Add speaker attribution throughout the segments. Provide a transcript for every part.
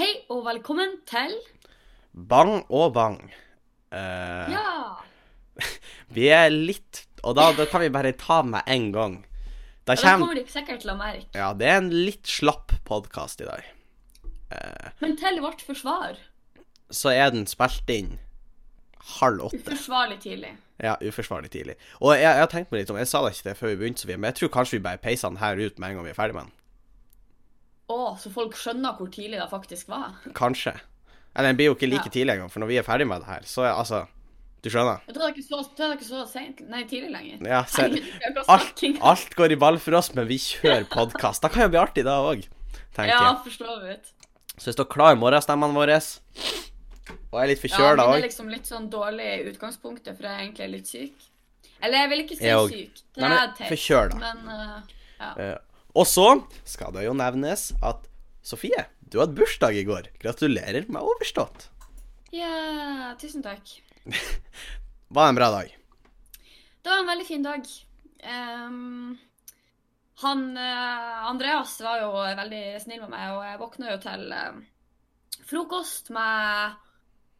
Speaker 1: Hei og velkommen til
Speaker 2: Bang og bang. Eh,
Speaker 1: Ja!
Speaker 2: Vi er litt Og da, da kan vi bare ta med en gang. Da
Speaker 1: Og det
Speaker 2: kommer
Speaker 1: kommer dere sikkert til å merke.
Speaker 2: Ja, det er en litt slapp podkast i dag.
Speaker 1: Men til vårt forsvar.
Speaker 2: Så er den spilt inn halv åtte.
Speaker 1: Uforsvarlig tidlig.
Speaker 2: Ja, uforsvarlig tidlig. Og jeg, jeg har tenkt meg litt om, jeg sa det ikke det før vi begynte, Sofie, men jeg tror kanskje vi bare peiser den her ut med en gang vi er ferdig med den.
Speaker 1: Å, så folk skjønner hvor tidlig det faktisk var.
Speaker 2: Kanskje. Eller den blir jo ikke like
Speaker 1: Ja. tidlig
Speaker 2: tidlig engang, for når vi er ferdig med det her, så er altså Du skjønner?
Speaker 1: Jeg tror det er ikke så, jeg tror det er ikke så sent, nei, tidlig lenger.
Speaker 2: Ja, så,
Speaker 1: Herregud, vi har gått
Speaker 2: alt,
Speaker 1: snakking.
Speaker 2: alt går i ball for oss, men vi kjører podkast. Da kan jo bli artig, da òg, tenker
Speaker 1: Ja,
Speaker 2: jeg.
Speaker 1: for så vidt.
Speaker 2: Så vi står klar i morgenstemmene våre. Og jeg er litt
Speaker 1: Ja,
Speaker 2: forkjøla
Speaker 1: men det er
Speaker 2: òg.
Speaker 1: liksom litt sånn dårlig i utgangspunktet, for jeg er egentlig litt syk. Eller jeg vil ikke si
Speaker 2: Jeg òg.
Speaker 1: syk. Det
Speaker 2: Nei, men
Speaker 1: er teit.
Speaker 2: forkjøla.
Speaker 1: Men eh,
Speaker 2: Eh, Og så skal det jo nevnes at Sofie, du hadde bursdag i går. Gratulerer med overstått.
Speaker 1: ja, tusen takk.
Speaker 2: Var en bra dag.
Speaker 1: Det var en veldig fin dag. Ehm, han eh, Andreas var jo veldig snill med meg, og jeg våkna jo til eh, frokost med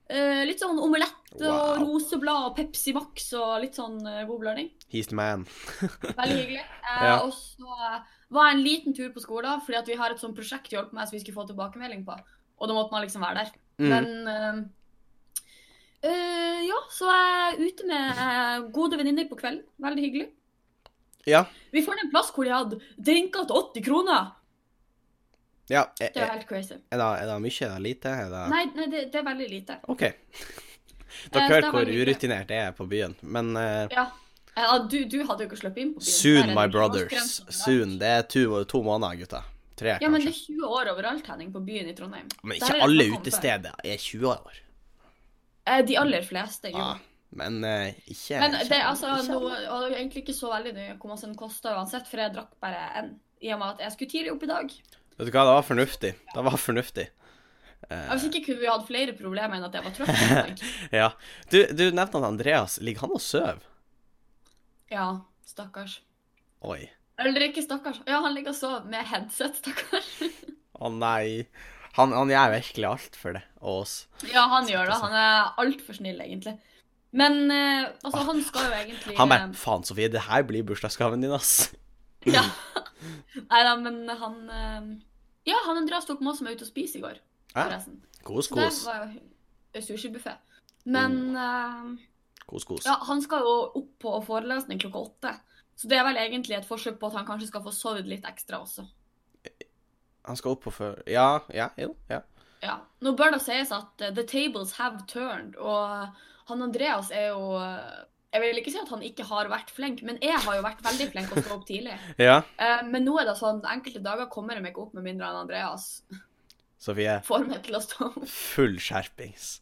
Speaker 1: eh, litt sånn omelett og
Speaker 2: Wow.
Speaker 1: roseblad og Pepsi Max og litt sånn eh, god blanding.
Speaker 2: He's the man.
Speaker 1: Veldig hyggelig. Eh,
Speaker 2: Ja.
Speaker 1: Og så eh, var jeg en liten tur på skolen, fordi at vi har et sånt prosjekt i Hjelp meg som vi skulle få tilbakemelding på. Og da måtte man liksom være der.
Speaker 2: Mm.
Speaker 1: Men eh, eh, ja, så jeg er ute med eh, gode venninner på kvelden. Veldig hyggelig.
Speaker 2: Ja.
Speaker 1: Vi fant en plass hvor de hadde drinker til 80 kroner.
Speaker 2: ja.
Speaker 1: Det
Speaker 2: Er,
Speaker 1: er jo
Speaker 2: er,
Speaker 1: helt crazy.
Speaker 2: er det, er det mye? Er det lite? Er det
Speaker 1: Nei, nei det, det er veldig lite.
Speaker 2: OK.
Speaker 1: Eh,
Speaker 2: Dere
Speaker 1: det
Speaker 2: hører
Speaker 1: er
Speaker 2: hvor
Speaker 1: veldig lite.
Speaker 2: urutinert jeg er på byen, men eh,
Speaker 1: Ja. Ja, du, du hadde jo ikke sluppet inn på byen. Der er
Speaker 2: soon,
Speaker 1: det
Speaker 2: my
Speaker 1: ikke
Speaker 2: brothers.
Speaker 1: avgrenset.
Speaker 2: Soon. Det er to, to måneder, gutter. Tre,
Speaker 1: Ja, men det
Speaker 2: kanskje.
Speaker 1: er 20 år overalt, Henning, på byen i Trondheim.
Speaker 2: Men
Speaker 1: Der er
Speaker 2: ikke
Speaker 1: det
Speaker 2: alle
Speaker 1: snakk om før.
Speaker 2: utesteder er 20 år.
Speaker 1: Eh, De aller fleste, jo.
Speaker 2: Ja, men eh, ikke
Speaker 1: Men
Speaker 2: ikke-
Speaker 1: det er altså
Speaker 2: ikke-
Speaker 1: noe, og det er jo egentlig ikke så veldig nøye hvor mye den kosta uansett, for jeg drakk bare en. I og med at jeg skulle tidlig opp i dag.
Speaker 2: Vet du hva, det var fornuftig. Det var fornuftig.
Speaker 1: Ja, Hvis ikke kunne vi hatt flere problemer enn at jeg var trøtt. i dag.
Speaker 2: Ja. Du, du nevnte at Andreas ligger han og sover.
Speaker 1: Ja, stakkars.
Speaker 2: Oi.
Speaker 1: Eller ikke stakkars. Ja, han ligger og sover med headset, stakkars.
Speaker 2: Å nei. Han, han gjør virkelig alt for det og oss.
Speaker 1: Ja, han gjør det. Han er altfor snill, egentlig. Men eh, altså, han skal jo egentlig
Speaker 2: Han bare
Speaker 1: eh,
Speaker 2: 'Faen, Sofie, det her blir bursdagsgaven din, ass'.
Speaker 1: ja. Nei da, men han eh, Ja, han Andreas tok med oss som er ute og spiser i går,
Speaker 2: Ja.
Speaker 1: forresten.
Speaker 2: Kos,
Speaker 1: Så det
Speaker 2: kos.
Speaker 1: var jo sushibuffé. Men
Speaker 2: Mm.
Speaker 1: eh,
Speaker 2: Kos, kos.
Speaker 1: ja, han skal jo opp på forelesning klokka åtte. Så det er vel egentlig et forsøk på at han kanskje skal få sovet litt ekstra også.
Speaker 2: Han skal opp på før Ja, ja, jo. Ja.
Speaker 1: Ja. Nå bør det sies at eh, the tables have turned, og eh, han Andreas er jo eh, Jeg vil ikke si at han ikke har vært flink, men jeg har jo vært veldig flink å stå opp tidlig.
Speaker 2: ja.
Speaker 1: Eh, Men nå er det sånn, enkelte dager kommer jeg meg ikke opp med mindre enn Andreas
Speaker 2: Sofie,
Speaker 1: får meg til å stå opp.
Speaker 2: full skjerpings.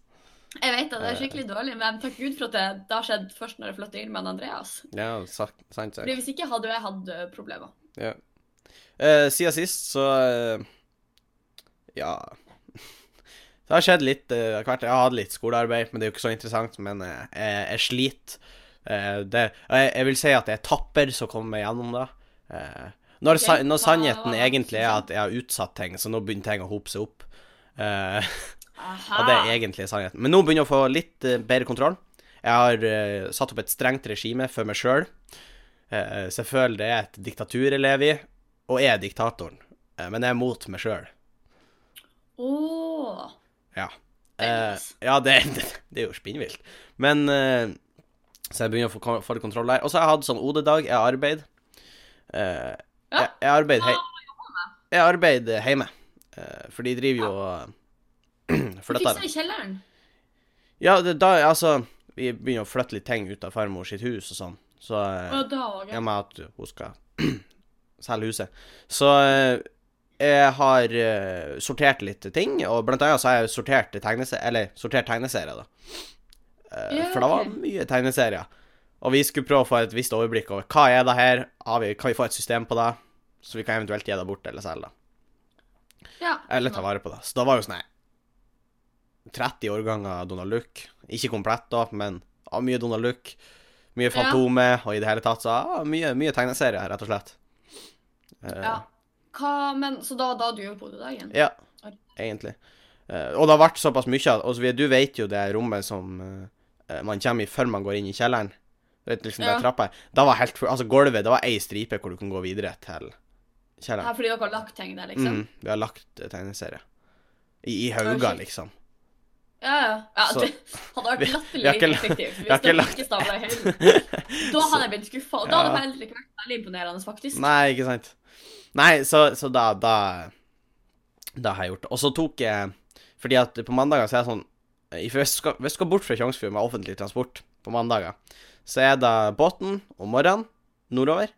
Speaker 1: Jeg vet at det er skikkelig dårlig, men takk Gud for at det, det har skjedd først når jeg flytta inn med han Andreas.
Speaker 2: Ja, sant, sant. sagt.
Speaker 1: Fordi Hvis ikke hadde jo jeg hatt eh, problemer.
Speaker 2: Ja. Eh, siden sist, så eh, Ja. Det har skjedd litt eh, hvert. Jeg har hatt litt skolearbeid, men det er jo ikke så interessant. Men eh, jeg, jeg sliter. Eh, det, og jeg, jeg vil si at jeg er tapper som kommer meg gjennom det. Eh, når, sa,
Speaker 1: Ok, hva-
Speaker 2: når sannheten
Speaker 1: hva-
Speaker 2: egentlig er at jeg har utsatt ting, så nå begynner ting å hope seg opp. Eh,
Speaker 1: Aha.
Speaker 2: og det er egentlig sannheten. Men nå begynner jeg å få litt eh, bedre kontroll. Jeg har eh, satt opp et strengt regime for meg sjøl. så jeg føler det er et diktatur jeg lever i, og jeg er diktatoren. Eh, men jeg er mot meg sjøl.
Speaker 1: Åh.
Speaker 2: Ja. Eh,
Speaker 1: Spennende.
Speaker 2: ja, det, det, det er jo spinnvilt. Men eh, Så jeg begynner å få, få litt kontroll der. Og så har jeg hatt sånn OD-dag. Jeg har arbeid. Eh,
Speaker 1: Ja.
Speaker 2: jeg, jeg arbeid
Speaker 1: Ah,
Speaker 2: hei, jeg arbeid hjemme. Eh, for de driver jo og
Speaker 1: Du
Speaker 2: flytter.
Speaker 1: fiksa i kjelleren.
Speaker 2: Ja, det, da, altså Vi begynner å flytte litt ting ut av farmor sitt hus og sånn. Så eh,
Speaker 1: Og da òg.
Speaker 2: i og med at hun skal selge huset. Så eh, jeg har eh, sortert litt ting, og blant annet så har jeg sortert tegneserier, eller sortert tegneserier, da. Eh,
Speaker 1: Ja,
Speaker 2: for det var
Speaker 1: ok.
Speaker 2: mye tegneserier. Og vi skulle prøve å få et visst overblikk over hva er det her, har vi, kan vi få et system på det, så vi kan eventuelt gi det bort eller selge det.
Speaker 1: Ja.
Speaker 2: Eller ta vare på det. Så da var jo sånn her 30 årganger Donald Duck. Ikke komplett, da, men ja, mye Donald Duck. Mye Fantomet, og i det hele tatt så ja, mye, mye tegneserier, rett og slett. Eh,
Speaker 1: Ja. Hva, men, så da, da du gjorde på dagen?
Speaker 2: ja, egentlig. Eh, og det har vært såpass mye at altså, vi- Du vet jo det rommet som eh, man kommer i før man går inn i kjelleren. Vet, liksom
Speaker 1: Ja.
Speaker 2: det trappa her. Da var helt full- Altså, gulvet, det var ei stripe hvor du kunne gå videre til kjelleren.
Speaker 1: Her fordi dere har lagt ting der, liksom.
Speaker 2: Mm, vi har lagt eh, tegneserie. I, i hauger,
Speaker 1: shit.
Speaker 2: liksom.
Speaker 1: Ja, ja. ja
Speaker 2: Så-
Speaker 1: det hadde vært
Speaker 2: Vi- vi har
Speaker 1: latterlig lite
Speaker 2: ikke la-
Speaker 1: effektivt hvis
Speaker 2: har ikke
Speaker 1: de
Speaker 2: lagt-
Speaker 1: ikke stabla i høyden. Da hadde jeg blitt skuffa. Da hadde
Speaker 2: Ja.
Speaker 1: foreldre ikke vært veldig imponerende, faktisk.
Speaker 2: Nei, ikke sant. Nei, så, så da, da Da har jeg gjort det. Og så tok jeg Fordi at på mandager så er jeg sånn eh, for hvis, du skal, hvis du skal bort fra Tjongsfjord med offentlig transport på mandager, så er det båten om morgenen nordover.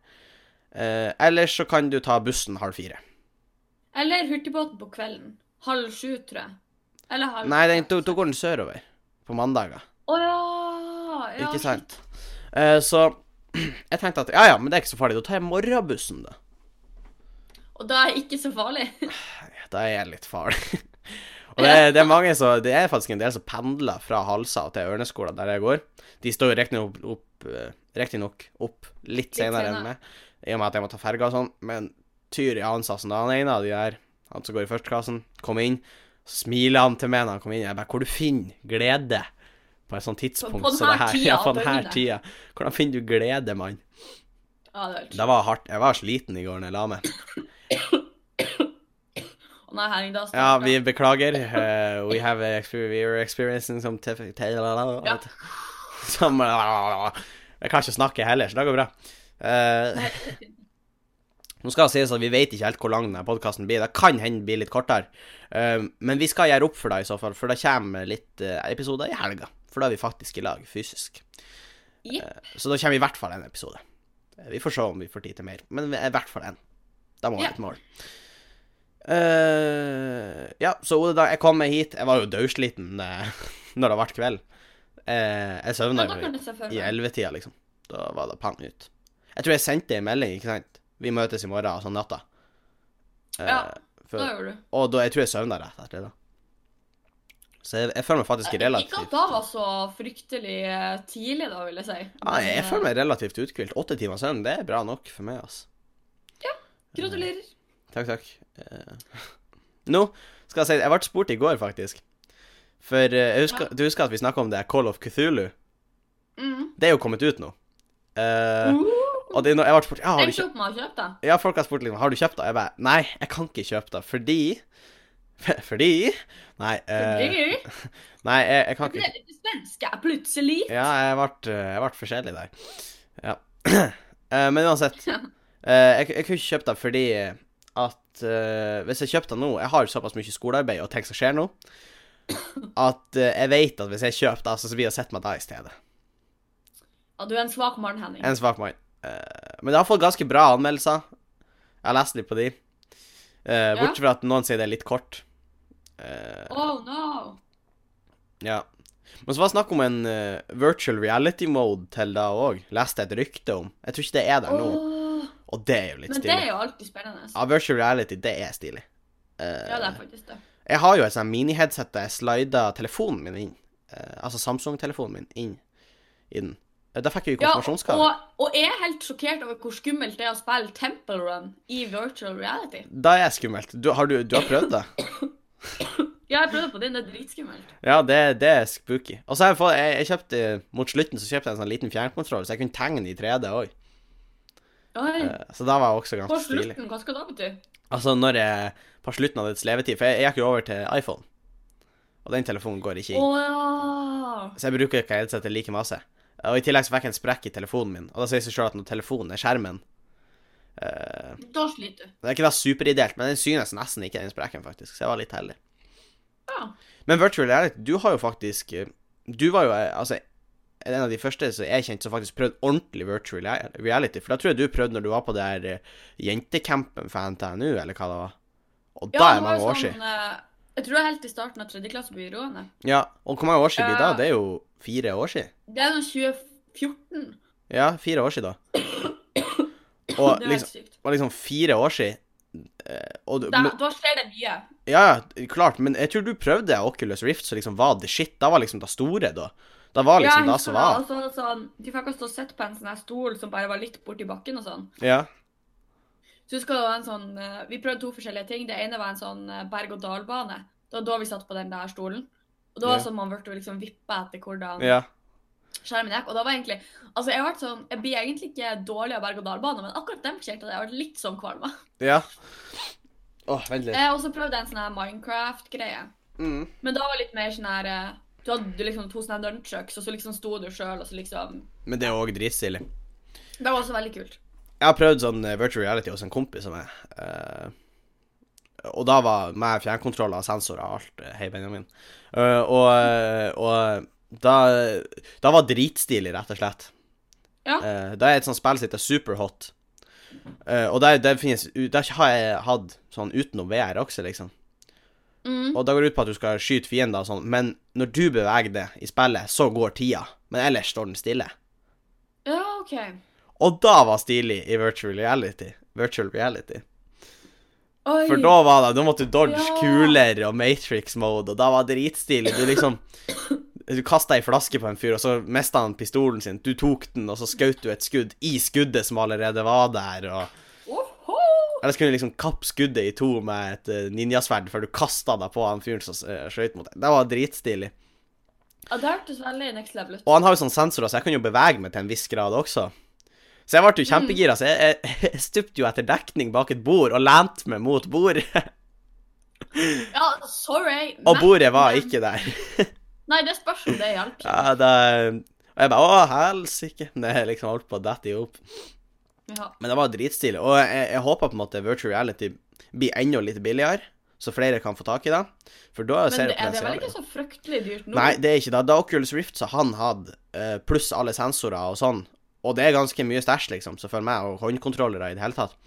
Speaker 2: Eh, ellers så kan du ta bussen halv fire.
Speaker 1: Eller hurtigbåten på kvelden. Halv sju, tror jeg. Eller halv
Speaker 2: Nei, den, da da går den sørover på mandager.
Speaker 1: Å ja, ja.
Speaker 2: ikke
Speaker 1: shit.
Speaker 2: sant? Eh, så jeg tenkte at ja ja, men det er ikke så farlig. Da tar jeg morgenbussen, da.
Speaker 1: Og da er det ikke så farlig.
Speaker 2: Da er jeg litt farlig. Og det er, det er mange som Det er faktisk en del som pendler fra Halsa til Ørneskolen, der jeg går. De står jo riktignok opp, opp, eh, riktignok opp litt senere
Speaker 1: senere.
Speaker 2: enn meg, i og med at jeg må ta ferga og sånn, men Tyri Hansassen, han ene av de der, han som går i førsteklassen, kom inn, så smiler han til meg når han kom inn. Jeg bare Hvor du finner glede på et sånt tidspunkt
Speaker 1: på den
Speaker 2: som det
Speaker 1: her
Speaker 2: her?
Speaker 1: tida
Speaker 2: Ja,
Speaker 1: av
Speaker 2: på den her
Speaker 1: døgnet.
Speaker 2: tida. Hvordan finner du glede, mann?
Speaker 1: Ja, det er helt
Speaker 2: Det var hardt. Jeg var sliten i går når jeg la meg.
Speaker 1: Og nei, Henning, da
Speaker 2: Ja,
Speaker 1: snakker
Speaker 2: vi beklager. Eh, we have a exper we are experiencing some tiff-
Speaker 1: Ja.
Speaker 2: Som Jeg kan ikke snakke heller, så det går bra. Eh, nå skal det sies at vi vet ikke helt hvor lang denne podkasten blir. Det kan hende den blir litt kortere. Eh, men vi skal gjøre opp for det i så fall, for det kommer litt eh, episoder i helga. For da er vi faktisk i lag, fysisk.
Speaker 1: Jepp.
Speaker 2: Eh, så da kommer i hvert fall en episode. Eh, Vi får se om vi får tid til mer, men i hvert fall en. Da må vi ha et mål. Eh, ja, så Ode, da jeg kom meg hit Jeg var jo dødsliten eh, når det ble kveld. Eh, jeg
Speaker 1: Ja,
Speaker 2: søvna
Speaker 1: da
Speaker 2: jo
Speaker 1: kan jeg se for
Speaker 2: i
Speaker 1: meg.
Speaker 2: ellevetida, liksom. Da var det pang ut. Jeg tror jeg sendte en melding, ikke sant. Vi møtes i morgen, altså natta. Eh,
Speaker 1: Ja, Da
Speaker 2: for,
Speaker 1: gjorde du.
Speaker 2: og da, jeg tror jeg søvna rett etter det. Så jeg, jeg føler meg faktisk
Speaker 1: Eh, Ikke at
Speaker 2: relativt
Speaker 1: da var så fryktelig eh, tidlig, da, vil jeg si.
Speaker 2: ja, Ah, jeg, jeg
Speaker 1: Men,
Speaker 2: føler meg relativt uthvilt. Åtte timer søvn, det er bra nok for meg, altså.
Speaker 1: eh, Gratulerer.
Speaker 2: Takk, takk. Eh, Nå skal jeg si Jeg ble spurt i går, faktisk. For eh, jeg husker, du husker at vi snakka om det Call of Cthulhu?
Speaker 1: Mm.
Speaker 2: Det er jo kommet ut nå. Eh,
Speaker 1: Uh,
Speaker 2: og det, er nå- jeg ble spurt ja, har du
Speaker 1: Endte
Speaker 2: kjøpt,
Speaker 1: opp med å kjøpe det.
Speaker 2: ja, folk har spurt liksom, har du kjøpt det. Jeg bare Nei, jeg kan ikke kjøpe det fordi Fordi Nei, eh,
Speaker 1: Fordi
Speaker 2: nei jeg, jeg kan
Speaker 1: Jeg
Speaker 2: ikke
Speaker 1: ble litt svensk, jeg, plutselig.
Speaker 2: Ja, jeg ble, jeg ble forskjellig der. Ja. Eh, Men uansett.
Speaker 1: Ja.
Speaker 2: eh, Jeg, jeg kunne ikke kjøpt det fordi at eh, Hvis jeg kjøpte det nå Jeg har såpass mye skolearbeid og ting som skjer nå, at eh, jeg vet at hvis jeg kjøper det, så blir jeg sett meg da i stedet.
Speaker 1: Ja, du er en svak mann, Henning.
Speaker 2: En svak mann. Eh, Men det har fått ganske bra anmeldelser. Jeg har lest litt på de. Eh, Bortsett fra at noen sier det er litt kort. Eh,
Speaker 1: Oh no.
Speaker 2: Ja. Men så var det snakk om en eh, virtual reality mode til det òg. Leste jeg et rykte om. Jeg tror ikke det er der nå.
Speaker 1: Åh,
Speaker 2: Og det er jo litt
Speaker 1: men det er
Speaker 2: stilig.
Speaker 1: jo alltid spennende.
Speaker 2: Ja, virtual reality, det er stilig. Eh,
Speaker 1: Ja, det er faktisk det.
Speaker 2: jeg har jo et sånt mini-headset der jeg slida telefonen min inn. Eh, altså Samsung-telefonen min inn i den. Eh, Da fikk jeg jo
Speaker 1: Ja,
Speaker 2: konfirmasjonsgave.
Speaker 1: og, og jeg er helt sjokkert over hvor skummelt det er å spille Temple Run i virtual reality.
Speaker 2: Da er jeg skummelt. Du har, du, du har prøvd det?
Speaker 1: Ja, jeg prøvde på din, det er dritskummelt.
Speaker 2: Ja, det, det er spooky. Og så har jeg fått jeg, jeg kjøpte, Mot slutten så kjøpte jeg en sånn liten fjernkontroll, så jeg kunne tegne i 3D òg.
Speaker 1: Oi,
Speaker 2: Så det var også
Speaker 1: Mm. på
Speaker 2: ganske Eh, stilig.
Speaker 1: slutten, hva skal det bety?
Speaker 2: Altså når jeg På slutten av dets levetid For jeg, jeg gikk jo over til iPhone Og den telefonen går ikke
Speaker 1: Å
Speaker 2: inn
Speaker 1: ja.
Speaker 2: Så jeg bruker ikke headsetet like masse Og i tillegg så fikk jeg en sprekk i telefonen min Og da sier det seg selv at når telefonen er skjermen eh,
Speaker 1: Da sliter du.
Speaker 2: Det er ikke da superideelt Men den synes nesten ikke den sprekken faktisk Så jeg var litt heldig
Speaker 1: Ja.
Speaker 2: Men virtual reality Du har jo faktisk eh, Du var jo eh, Altså en av de første som jeg kjente som faktisk prøvde ordentlig virtual reality, for da tror jeg du prøvde når du var på det her eh, jentekampen for NTNU, eller hva det var. Og da
Speaker 1: Ja,
Speaker 2: er det
Speaker 1: det var
Speaker 2: mange
Speaker 1: jo
Speaker 2: år siden.
Speaker 1: sånn, eh, Jeg tror det er helt i starten av tredje klasse på videregående.
Speaker 2: Ja, og hvor mange år siden blir det da?
Speaker 1: Eh.
Speaker 2: Det er jo fire år siden.
Speaker 1: Det er sånn 2014.
Speaker 2: Ja, fire år siden da.
Speaker 1: Det
Speaker 2: Og
Speaker 1: er helt
Speaker 2: liksom,
Speaker 1: sykt.
Speaker 2: og liksom fire år siden. eh, Og, du-
Speaker 1: Da,
Speaker 2: men,
Speaker 1: da skjer det mye.
Speaker 2: ja, liksom ja, klart, men jeg tror du prøvde Oculus Rift, så liksom var det shit. Da var liksom det store, da. Da var liksom
Speaker 1: ja,
Speaker 2: det som var.
Speaker 1: Altså, sånn, de fikk oss til å sitte på en sånn her stol som bare var litt borti bakken og sånn.
Speaker 2: Ja.
Speaker 1: Så husker jeg det var en sånn eh, Vi prøvde to forskjellige ting. Det ene var en sånn eh, berg-og-dal-bane. Det var da vi satt på den der stolen. Og det var
Speaker 2: Ja.
Speaker 1: sånn man ble liksom vippa etter hvordan
Speaker 2: Ja.
Speaker 1: skjermen gikk. Og da var egentlig Altså, jeg har vært sånn Jeg blir egentlig ikke dårlig av berg-og-dal-bane, men akkurat den kjente jeg vært litt sånn kvalm av.
Speaker 2: ja. Åh, vent litt.
Speaker 1: Jeg har også prøvd en sånn her Minecraft-greie.
Speaker 2: Mm.
Speaker 1: Men da var det litt mer sånn her eh, Du hadde liksom to sånne her nunchucks, og så liksom sto du sjøl, og så liksom
Speaker 2: Men det er òg dritstilig.
Speaker 1: Det var også veldig kult.
Speaker 2: Jeg har prøvd sånn eh, virtual reality hos en kompis som er eh, Og da var meg fjernkontroller og sensorer og alt. eh, Hei, Benjamin. Eh, og eh, og da, da var dritstilig, rett og slett.
Speaker 1: Ja.
Speaker 2: Eh, det er et sånt spill som heter Superhot. Eh, og der, der finnes u- Der har jeg hatt sånn utenom VR også, liksom.
Speaker 1: Mm.
Speaker 2: Og da går det ut på at du skal skyte fiender og sånn, men når du beveger det i spillet, så går tida. Men ellers står den stille.
Speaker 1: Ja, OK.
Speaker 2: Og da var stilig i virtual reality. Virtual reality.
Speaker 1: Oi.
Speaker 2: For da var det, da måtte du dodge
Speaker 1: Ja.
Speaker 2: kuler og Matrix-mode, og da var det dritstilig. Du liksom Du kasta ei flaske på en fyr, og så mista han pistolen sin. Du tok den, og så skjøt du et skudd i skuddet som allerede var der, og
Speaker 1: Oho!
Speaker 2: Eller så kunne du liksom kappe skuddet i to med et eh, ninjasverd før du kasta deg på han fyren som eh, skjøt mot deg. Det var dritstilig.
Speaker 1: Ja, det hørtes veldig next level ut.
Speaker 2: Og han har jo sånn sensorer, så jeg kan jo bevege meg til en viss grad også. Så jeg ble jo kjempegira, så jeg, jeg, jeg stupte jo etter dekning bak et bord og lente meg mot bordet.
Speaker 1: Ja, sorry.
Speaker 2: Og
Speaker 1: men-
Speaker 2: bordet var ikke der.
Speaker 1: Nei, det spørs om det hjalp.
Speaker 2: Ja, da, og jeg bare Å, helsike. Nei, jeg liksom holdt på å dette i hop.
Speaker 1: Ja.
Speaker 2: Men det var dritstilig. Og jeg, jeg håper på en måte virtual reality blir enda litt billigere, så flere kan få tak i det. For da
Speaker 1: Men
Speaker 2: ser
Speaker 1: det,
Speaker 2: jeg
Speaker 1: er det vel
Speaker 2: potensialet.
Speaker 1: ikke så fryktelig dyrt nå?
Speaker 2: Nei, det er ikke det. Da Oculus Rift så han hadde, eh, pluss alle sensorer og sånn, og det er ganske mye stæsj, liksom, så for meg, og håndkontrollere i det hele tatt,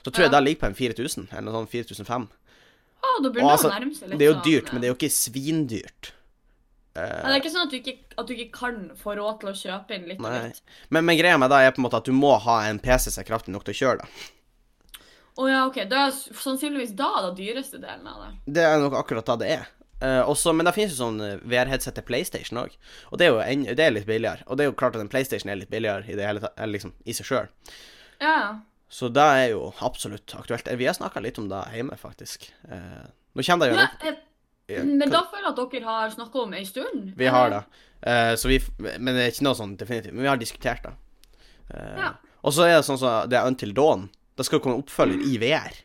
Speaker 2: så tror jeg
Speaker 1: Ja.
Speaker 2: det ligger på en 4000, eller noe sånn 4500.
Speaker 1: Ja, da
Speaker 2: Og
Speaker 1: begynner det
Speaker 2: altså,
Speaker 1: å nærme seg litt. sånn,
Speaker 2: Det er jo dyrt, men det er jo ikke svindyrt.
Speaker 1: ja, Det er ikke sånn at du ikke, at du ikke kan få råd til å kjøpe inn litt og
Speaker 2: Nei.
Speaker 1: litt.
Speaker 2: Men, men greia med det er på en måte at du må ha en PC som er kraftig nok til å kjøre det.
Speaker 1: Å ja, OK. Det er s- sannsynligvis da den dyreste delen av det.
Speaker 2: Det er nok akkurat det det er. Eh, også, men det finnes jo sånn eh, VR-headset til PlayStation òg, og det er jo en, det er litt billigere. Og det er jo klart at en PlayStation er litt billigere i det hele tatt, eller liksom i seg sjøl.
Speaker 1: Ja.
Speaker 2: Så det er jo absolutt aktuelt. Eh, Vi har snakka litt om det hjemme, faktisk. Eh, nå kommer det jo
Speaker 1: ja
Speaker 2: litt
Speaker 1: eh,
Speaker 2: Ja,
Speaker 1: men da føler jeg at dere har snakka om det en stund.
Speaker 2: Vi har det. Eh, så vi, f- men det er ikke noe sånn definitivt. Men vi har diskutert det. Eh,
Speaker 1: Ja.
Speaker 2: Og så er det sånn som det er Until Dawn. Det skal jo komme oppfølger i VR.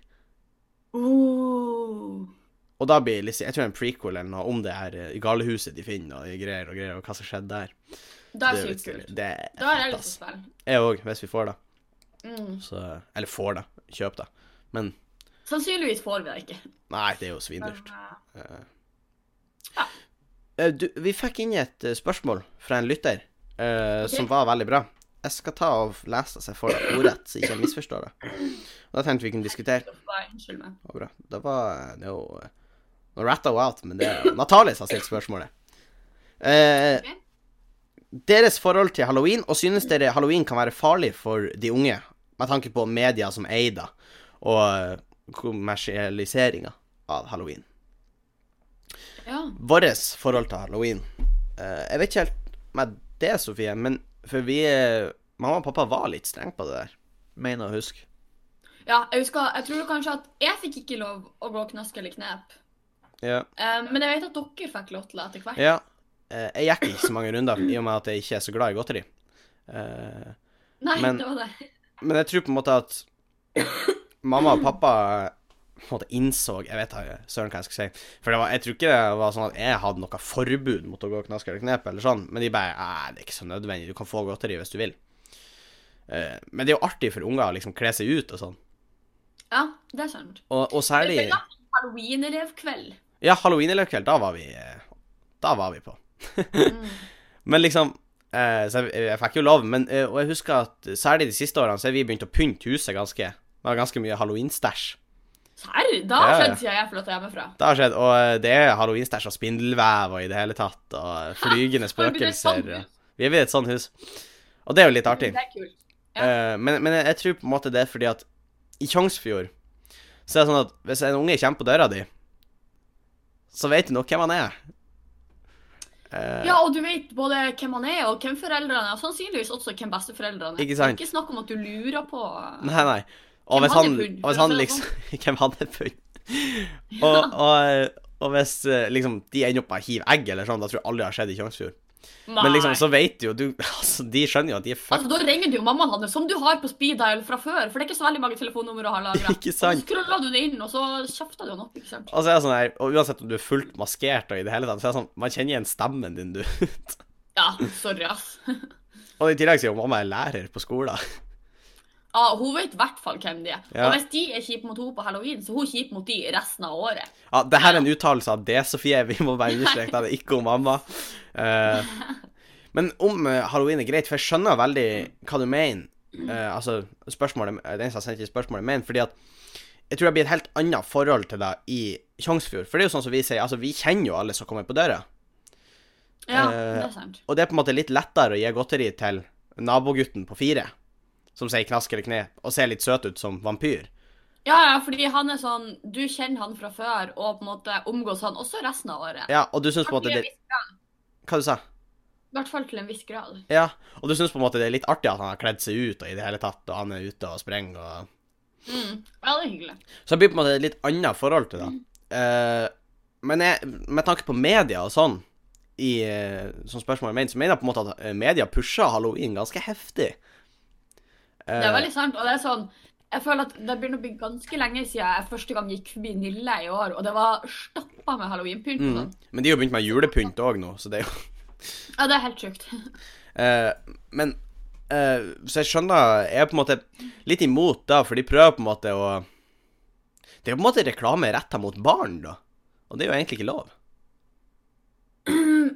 Speaker 1: Oh.
Speaker 2: Og da blir det litt Jeg tror det er en prequel eller noe om det her eh, galehuset de finner, og greier og greier, og hva som skjedde der.
Speaker 1: Det er
Speaker 2: jo litt
Speaker 1: sykt
Speaker 2: stilig.
Speaker 1: kult.
Speaker 2: Det er
Speaker 1: Da har jeg sånn-
Speaker 2: fett,
Speaker 1: lyst til å spille.
Speaker 2: ass. Jeg òg, hvis vi får det.
Speaker 1: Mm.
Speaker 2: Så Eller får det. Kjøp det. Men
Speaker 1: Sannsynligvis får vi det ikke.
Speaker 2: nei, det er jo svindyrt.
Speaker 1: Men, eh,
Speaker 2: Eh, Du, vi fikk inn et eh, spørsmål fra en lytter eh, som var veldig bra. Jeg skal ta og lese det så jeg får det ordrett, så ikke jeg misforstår det. Og Da tenkte vi kunne diskutere.
Speaker 1: så får jeg- Unnskyld meg.
Speaker 2: Det var bra. Det var det er jo eh, Nå ratta hun out, men det er jo Natalie som har stilt spørsmålet. Eh,
Speaker 1: Ok.
Speaker 2: deres forhold til halloween, og synes dere halloween kan være farlig for de unge? Med tanke på media som eier det, og eh, kommersialiseringa av halloween
Speaker 1: Ja.
Speaker 2: vårt forhold til halloween. Eh, jeg vet ikke helt med det, Sofie, men for vi eh, Mamma og pappa var litt streng på det der, mener jeg å huske.
Speaker 1: ja, jeg husker Jeg tror kanskje at jeg fikk ikke lov å gå knask eller knep.
Speaker 2: Ja.
Speaker 1: Eh, men jeg vet at dere fikk lov til det etter hvert.
Speaker 2: ja. Eh, jeg gikk ikke så mange runder, i og med at jeg ikke er så glad i godteri. Eh,
Speaker 1: Nei,
Speaker 2: men-
Speaker 1: det var det.
Speaker 2: men jeg tror på en måte at mamma og pappa på en måte innså Jeg vet da søren hva jeg skal si. For det var, jeg tror ikke det var sånn at jeg hadde noe forbud mot å gå knask eller knep, eller sånn, men de bare Æ, det er ikke så nødvendig, du kan få godteri hvis du vil. Eh, men det er jo artig for unger å liksom kle seg ut og sånn.
Speaker 1: Ja, det er sant.
Speaker 2: Og, og særlig
Speaker 1: Det var Halloween-elevkveld.
Speaker 2: Ja, halloween-elevkveld, da var vi eh, Da var vi på. Mm. men liksom eh, Så jeg, jeg fikk jo lov, men eh, Og jeg husker at særlig de siste årene så har vi begynt å pynte huset ganske. Det var ganske mye halloween-stæsj.
Speaker 1: Serr? Det har
Speaker 2: Ja, ja.
Speaker 1: skjedd siden jeg flytta hjemmefra.
Speaker 2: Det har skjedd, og eh, det er halloween-stæsj og spindelvev og i det hele tatt, og eh, flygende
Speaker 1: Har vi blitt et
Speaker 2: spøkelser.
Speaker 1: sånt hus?
Speaker 2: og- Vi er ved et sånt hus. Og det er jo litt artig.
Speaker 1: Det er kult. Ja.
Speaker 2: Eh, men, men jeg, jeg tror på en måte det er fordi at i Tjongsfjord så er det sånn at hvis en unge kommer på døra di, så vet du nok hvem han er. Eh,
Speaker 1: Ja, og du vet både hvem han er, og hvem foreldrene er, og sannsynligvis også hvem besteforeldrene er.
Speaker 2: Ikke sant?
Speaker 1: Det er ikke snakk om at du lurer på
Speaker 2: Nei, nei.
Speaker 1: Hvem
Speaker 2: Og hvis
Speaker 1: han er
Speaker 2: han,
Speaker 1: pund,
Speaker 2: og
Speaker 1: for å
Speaker 2: hvis han
Speaker 1: si det
Speaker 2: liksom Hvem han er pund? Og, og, Og hvis eh, liksom, de ender opp med å hive egg eller sånn, da tror jeg aldri det har skjedd i Tjongsfjord.
Speaker 1: Nei.
Speaker 2: Men liksom, så vet jo du altså, De skjønner jo at de er fucked.
Speaker 1: Altså, Da ringer du jo mammaen hans, som du har på speed dial fra før. For det er ikke så veldig mange telefonnumre å ha lagra.
Speaker 2: Ikke sant?
Speaker 1: Så scroller du det inn, og så kjefter du han opp. ikke sant?
Speaker 2: Og så er det sånn her, og uansett om du er fullt maskert og i det hele tatt, så er det sånn, man kjenner igjen stemmen din, du.
Speaker 1: Ja, sorry, ass.
Speaker 2: Og i tillegg sier jo mamma er lærer på skolen.
Speaker 1: Ja, Hun vet i hvert fall hvem de er.
Speaker 2: Ja.
Speaker 1: Og hvis de er kjipe mot henne på halloween, så er hun kjip mot de resten av året.
Speaker 2: Ja, det her er en uttalelse av det, Sofie. Vi må bare understreke det. Det er ikke om mamma. Eh, men om eh, halloween er greit, for jeg skjønner veldig hva du mener. Eh, altså, spørsmålet, eh, den som har sendt inn spørsmålet, mener fordi at jeg tror det blir et helt annet forhold til deg i Tjongsfjord. For det er jo sånn som vi sier, altså, vi kjenner jo alle som kommer på døra.
Speaker 1: Ja,
Speaker 2: Eh,
Speaker 1: det er sant.
Speaker 2: Og det er på en måte litt lettere å gi godteri til nabogutten på fire, som sier knask eller kne, og ser litt søt ut som vampyr.
Speaker 1: Ja, ja, fordi han er sånn Du kjenner han fra før, og på en måte omgås han også resten av året.
Speaker 2: Ja, og du syns på en måte
Speaker 1: Til
Speaker 2: det
Speaker 1: en viss grad.
Speaker 2: Hva du sa
Speaker 1: I hvert fall til en viss grad.
Speaker 2: Ja, og du syns på en måte det er litt artig at han har kledd seg ut, og i det hele tatt, og han er ute og sprenger og
Speaker 1: Mm. Ja, det er hyggelig.
Speaker 2: Så det blir på en måte et litt annet forhold til det. Eh, men jeg, med tanke på media og sånn, i, eh, som spørsmålet mener, så mener jeg på en måte at eh, media pusher halloween ganske heftig.
Speaker 1: Det
Speaker 2: Eh.
Speaker 1: er veldig sant. Og det er sånn Jeg føler at det begynner å bli ganske lenge siden jeg første gang gikk forbi Nille i år, og det var stappa med halloweenpynt. og
Speaker 2: mm.
Speaker 1: sånn.
Speaker 2: Men de har jo begynt med julepynt òg nå, så det er jo
Speaker 1: Ja, det er helt sjukt.
Speaker 2: Eh, men eh, Så jeg skjønner Jeg er på en måte litt imot da, for de prøver på en måte å Det er jo på en måte reklame retta mot barn, da. Og det er jo egentlig ikke lov.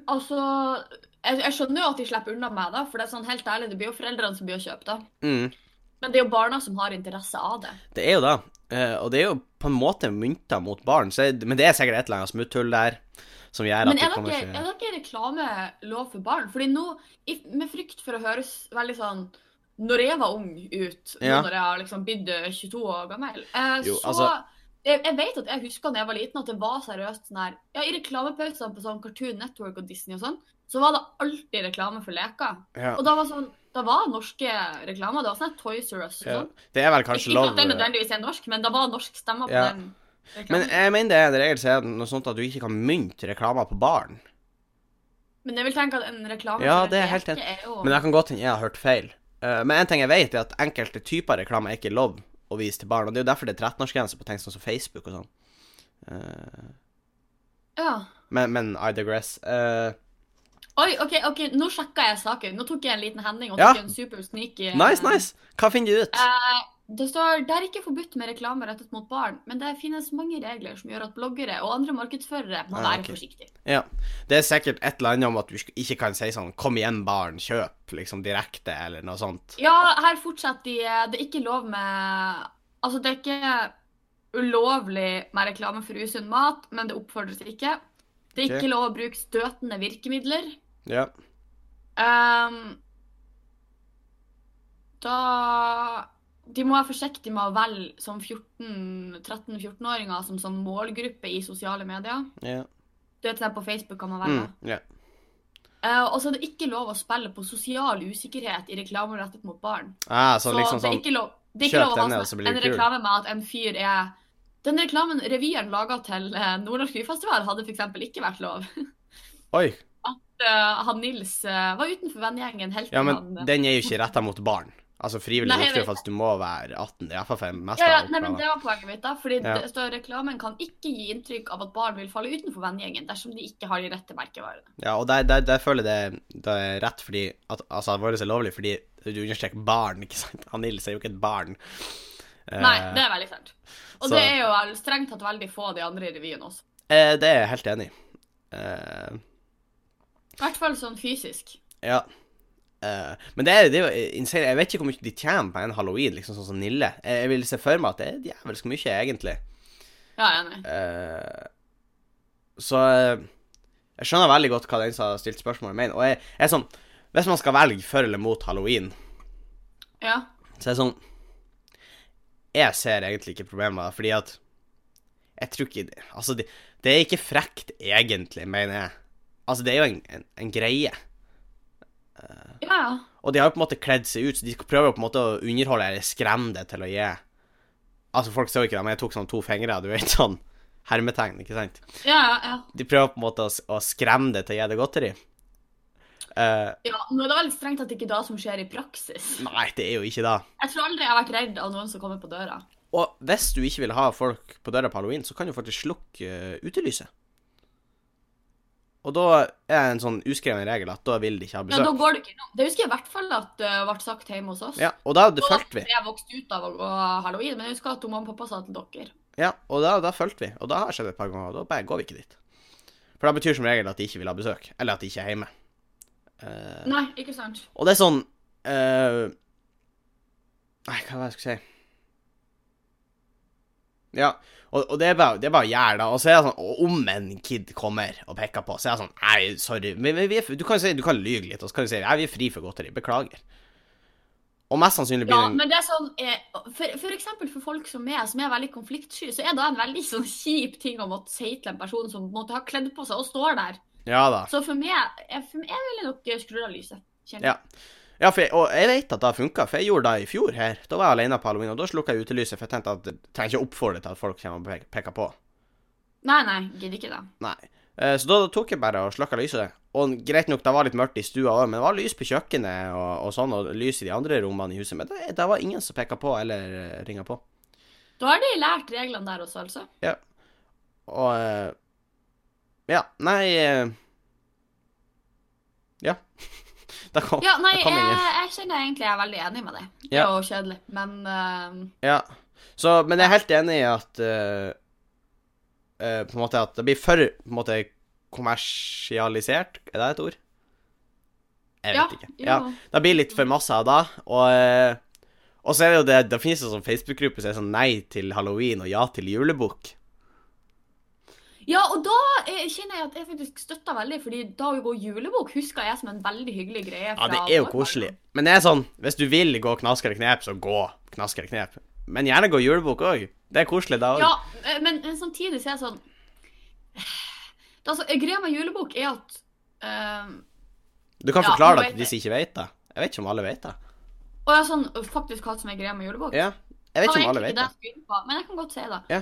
Speaker 1: altså jeg, jeg skjønner jo at de slipper unna meg, da, for det er sånn helt ærlig, det blir jo foreldrene som blir å kjøpe, da.
Speaker 2: Mm.
Speaker 1: Men det er jo barna som har interesse av det.
Speaker 2: Det er jo det. Eh, og det er jo på en måte mynta mot barn, så jeg, men det er sikkert et eller annet smutthull der som gjør at
Speaker 1: Men
Speaker 2: det
Speaker 1: er det
Speaker 2: kommer
Speaker 1: ikke, er
Speaker 2: ikke
Speaker 1: det ikke reklame lov for barn? Fordi nå, i, med frykt for å høres veldig sånn Når jeg var ung ut, nå
Speaker 2: Ja.
Speaker 1: når jeg har liksom blitt eh, 22 år gammel, eh,
Speaker 2: Jo,
Speaker 1: så
Speaker 2: altså-
Speaker 1: jeg, jeg vet at jeg husker da jeg var liten, at det var seriøst sånn her Ja, i reklamepausene på sånn Cartoon Network og Disney og sånn, så var det alltid reklame for leker.
Speaker 2: Ja,
Speaker 1: Og da var sånn Da var norske reklamer. Det var sånn her Toys R Us og
Speaker 2: ja.
Speaker 1: sånn.
Speaker 2: Det er vel
Speaker 1: Ikke
Speaker 2: kanskje
Speaker 1: ikke
Speaker 2: lov
Speaker 1: at den nødvendigvis er norsk, men det var norsk stemme på
Speaker 2: Ja.
Speaker 1: den. reklamen.
Speaker 2: Men jeg mener det er en regel som er noe sånt at du ikke kan mynte reklamer på barn.
Speaker 1: Men jeg vil tenke at en reklame
Speaker 2: Ja,
Speaker 1: for en
Speaker 2: det er helt
Speaker 1: leke er jo
Speaker 2: Men det kan godt hende jeg har hørt feil. Eh, men en ting jeg vet, er at enkelte typer reklame er ikke lov å vise til barn. Og det er jo derfor det er 13-årsgrense på ting sånn som Facebook og sånn. Eh,
Speaker 1: Ja.
Speaker 2: men, men I digress. Eh,
Speaker 1: Oi, OK, ok, nå sjekka jeg saken. Nå tok jeg en liten hending og
Speaker 2: Ja.
Speaker 1: tok en super sneaky eh,
Speaker 2: nice, nice! Hva finner du ut?
Speaker 1: eh, det står det er ikke forbudt med reklame rettet mot barn, men det finnes mange regler som gjør at bloggere og andre markedsførere må
Speaker 2: Ah,
Speaker 1: være
Speaker 2: ok.
Speaker 1: forsiktige.
Speaker 2: Ja. Det er sikkert et eller annet om at du sk- ikke kan si sånn 'Kom igjen, barn. Kjøp.' liksom direkte, eller noe sånt.
Speaker 1: Ja, her fortsetter de eh, Det er ikke lov med Altså, det er ikke ulovlig med reklame for usunn mat, men det oppfordres ikke. Det er
Speaker 2: Ok.
Speaker 1: ikke lov å bruke støtende virkemidler.
Speaker 2: Ja.
Speaker 1: Ehm, da De må være forsiktige med å velge som 14 13-14-åringer som sånn målgruppe i sosiale medier.
Speaker 2: ja.
Speaker 1: Du vet, sånn på Facebook kan man velge.
Speaker 2: Mm, ja.
Speaker 1: Eh, og så er det ikke lov å spille på sosial usikkerhet i reklamer rettet mot barn.
Speaker 2: Ah, så, liksom
Speaker 1: det er
Speaker 2: sånn
Speaker 1: ikke lov, det er ikke
Speaker 2: kjøp
Speaker 1: lov å
Speaker 2: denne,
Speaker 1: ha
Speaker 2: og så
Speaker 1: sånn,
Speaker 2: blir
Speaker 1: en
Speaker 2: du kul.
Speaker 1: reklame med at en fyr er Den reklamen revyen laga til eh, Nordnorsk byfestival, hadde f.eks. ikke vært lov.
Speaker 2: Oi.
Speaker 1: Eh, han Nils eh, var utenfor vennegjengen helt til
Speaker 2: Ja,
Speaker 1: han
Speaker 2: men den er jo ikke retta mot barn. Altså frivillig
Speaker 1: Nei, jeg
Speaker 2: utstyr,
Speaker 1: vet
Speaker 2: for at du må være 18. Det er iallfall for en mest
Speaker 1: Ja, ja,
Speaker 2: av
Speaker 1: nei, men
Speaker 2: oppgavene.
Speaker 1: Det var poenget mitt. da, fordi
Speaker 2: Ja.
Speaker 1: det står Reklamen kan ikke gi inntrykk av at barn vil falle utenfor vennegjengen dersom de ikke har de rette merkevarene.
Speaker 2: Ja, og der, der, der føler jeg det, det er rett fordi at, Altså, vårt er lovlig fordi du understreker barn, ikke sant? Han Nils er jo ikke et barn. Eh,
Speaker 1: Nei, det er veldig sant. Og
Speaker 2: så-
Speaker 1: det er jo vel strengt tatt veldig få av de andre i revyen også.
Speaker 2: eh, det er jeg helt enig i. Eh,
Speaker 1: I hvert fall sånn fysisk.
Speaker 2: ja. Eh, men det er, det er jo insane. Jeg vet ikke hvor mye de tjener på en halloween, liksom sånn som Nille. Jeg, jeg vil se for meg at det er djevelsk mye, egentlig.
Speaker 1: Ja, jeg er enig.
Speaker 2: Eh, så eh, jeg skjønner veldig godt hva den som har stilt spørsmålet, mener. Og jeg, jeg er sånn Hvis man skal velge for eller mot halloween,
Speaker 1: Ja.
Speaker 2: Så det er sånn Jeg ser egentlig ikke problemet med det, fordi at Jeg tror ikke det Altså, det, det er ikke frekt, egentlig, mener jeg. Altså, det er jo en, en, en greie.
Speaker 1: ja, ja.
Speaker 2: Og de har jo på en måte kledd seg ut, så de prøver jo på en måte å underholde eller skremme det til å gi Altså, folk ser jo ikke det, men jeg tok sånn to fingre, du vet, sånn hermetegn, ikke sant?
Speaker 1: Ja, ja, ja.
Speaker 2: De prøver på en måte å, s- å skremme det til å gi deg godteri. Eh,
Speaker 1: ja. Nå er det veldig strengt at det ikke er det som skjer i praksis.
Speaker 2: nei, det er jo ikke det.
Speaker 1: Jeg tror aldri jeg har vært redd av noen som kommer på døra.
Speaker 2: Og hvis du ikke vil ha folk på døra på halloween, så kan du faktisk slukke eh, utelyset. Og da er en sånn uskreven regel at da vil de ikke ha
Speaker 1: Ja, da
Speaker 2: besøk.
Speaker 1: går du ikke innom. Det husker jeg i hvert fall at det ble sagt hjemme hos oss.
Speaker 2: Ja, og da det
Speaker 1: Og
Speaker 2: fulgte vi.
Speaker 1: Jeg vokste ut av å gå halloween, men jeg husker at hun mamma og pappa sa til dere.
Speaker 2: Ja, og da, da fulgte vi. Og da har det skjedd et par ganger, og da bare går vi ikke dit. For det betyr som regel at de ikke vil ha besøk, eller at de ikke er hjemme. Eh,
Speaker 1: Nei, ikke sant?
Speaker 2: og det er sånn eh, Nei, hva var det jeg skulle si? Ja, og, og det er bare, det er bare å gjøre det. Og så er det sånn, og om en kid kommer og peker på, så er det sånn Nei, sorry. Men, men vi er, f- du, kan si, du kan lyge litt, og så kan du si Nei, vi er fri for godteri. Beklager. Og mest sannsynlig blir
Speaker 1: Ja,
Speaker 2: det en
Speaker 1: men det er sånn, eh, for, for eksempel for folk som meg, som er veldig konfliktsky, så er det en veldig sånn kjip ting å måtte si til en person som måtte ha kledd på seg og står der.
Speaker 2: Ja da.
Speaker 1: Så for meg, jeg- for meg ville jeg nok skru av lyset. kjenner
Speaker 2: Ja.
Speaker 1: jeg.
Speaker 2: Ja, for jeg, og jeg vet at det har funka, for jeg gjorde det i fjor her. Da var jeg alene på halloween, og da slukka jeg utelyset, for jeg tenkte at jeg trenger ikke oppfordre til at folk kommer og pe- peker på.
Speaker 1: Nei, nei, gidder ikke det.
Speaker 2: Nei. Eh, Så da tok jeg bare og slukka lyset. Og greit nok, det var litt mørkt i stua òg, men det var lys på kjøkkenet og, og sånn, og lys i de andre rommene i huset. Men det, det var ingen som peka på eller ringa på.
Speaker 1: Da har de lært reglene der også, altså.
Speaker 2: Og eh, Ja, nei eh, Ja. Da kom,
Speaker 1: Ja, nei,
Speaker 2: da
Speaker 1: jeg,
Speaker 2: kom ingen.
Speaker 1: jeg kjenner egentlig jeg er veldig enig med deg. Det er
Speaker 2: Ja.
Speaker 1: jo kjedelig, men eh,
Speaker 2: Ja. Så, men jeg er helt enig i at eh, eh, På en måte at det blir for på en måte, kommersialisert. Er det et ord? Jeg vet ikke.
Speaker 1: jo.
Speaker 2: Ja. Det blir litt for masse av det. Og, eh, og så er det jo det Det finnes jo sånn Facebook-gruppe som er sånn nei til halloween og ja til julebukk.
Speaker 1: Ja, og da eh, kjenner jeg at jeg faktisk støtter veldig, fordi da vi går julebok, husker jeg som en veldig hyggelig greie.
Speaker 2: Ja,
Speaker 1: fra
Speaker 2: det er jo
Speaker 1: vår
Speaker 2: koselig.
Speaker 1: barndom.
Speaker 2: Men det er sånn Hvis du vil gå knask eller knep, så gå knask eller knep. Men gjerne gå julebukk òg. Det er koselig, det òg.
Speaker 1: Ja, eh, men, men samtidig så er det sånn Det er altså, Greia med julebok er at eh,
Speaker 2: Du kan
Speaker 1: Ja,
Speaker 2: forklare
Speaker 1: nå
Speaker 2: det
Speaker 1: vet
Speaker 2: til de som ikke vet det. Jeg vet ikke om alle vet det.
Speaker 1: Og jeg er sånn faktisk hva som er greia med julebok.
Speaker 2: Ja. Jeg vet
Speaker 1: Det
Speaker 2: ikke om
Speaker 1: var
Speaker 2: alle
Speaker 1: egentlig
Speaker 2: vet
Speaker 1: ikke det
Speaker 2: det.
Speaker 1: jeg skulle inn på, Men jeg kan godt si det.
Speaker 2: Ja.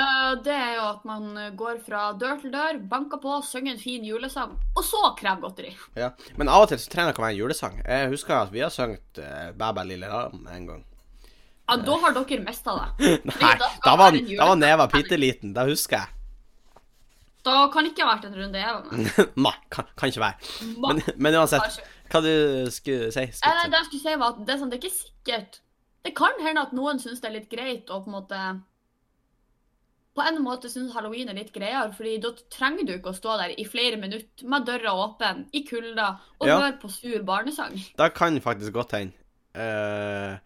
Speaker 1: Eh, det er jo at man går fra dør til dør, banker på, synger en fin julesang, og så krever godteri.
Speaker 2: Ja. Men av og til så trenger dere meg en julesang. Jeg husker at vi har sunget uh, 'Bæ bæ lille lam' en gang.
Speaker 1: Ja, da
Speaker 2: Eh.
Speaker 1: har dere mista det.
Speaker 2: Nei,
Speaker 1: da
Speaker 2: da
Speaker 1: skal
Speaker 2: var,
Speaker 1: det være en
Speaker 2: da var neva bitte liten. Det husker jeg.
Speaker 1: Da kan det ikke ha vært en runde jeg var med.
Speaker 2: Nei, kan, kan ikke være.
Speaker 1: Ma-
Speaker 2: Men, men uansett,
Speaker 1: Kanskje.
Speaker 2: hva du skulle si?
Speaker 1: Nei, nei,
Speaker 2: Skulle si.
Speaker 1: det jeg skulle si var at det er, sånn, det er ikke sikkert Det kan hende at noen syns det er litt greit å på en måte På en måte syns halloween er litt greiere, fordi da trenger du ikke å stå der i flere minutter med døra åpen, i kulda, og
Speaker 2: Ja.
Speaker 1: høre på sur barnesang.
Speaker 2: Da kan faktisk godt hende. Eh,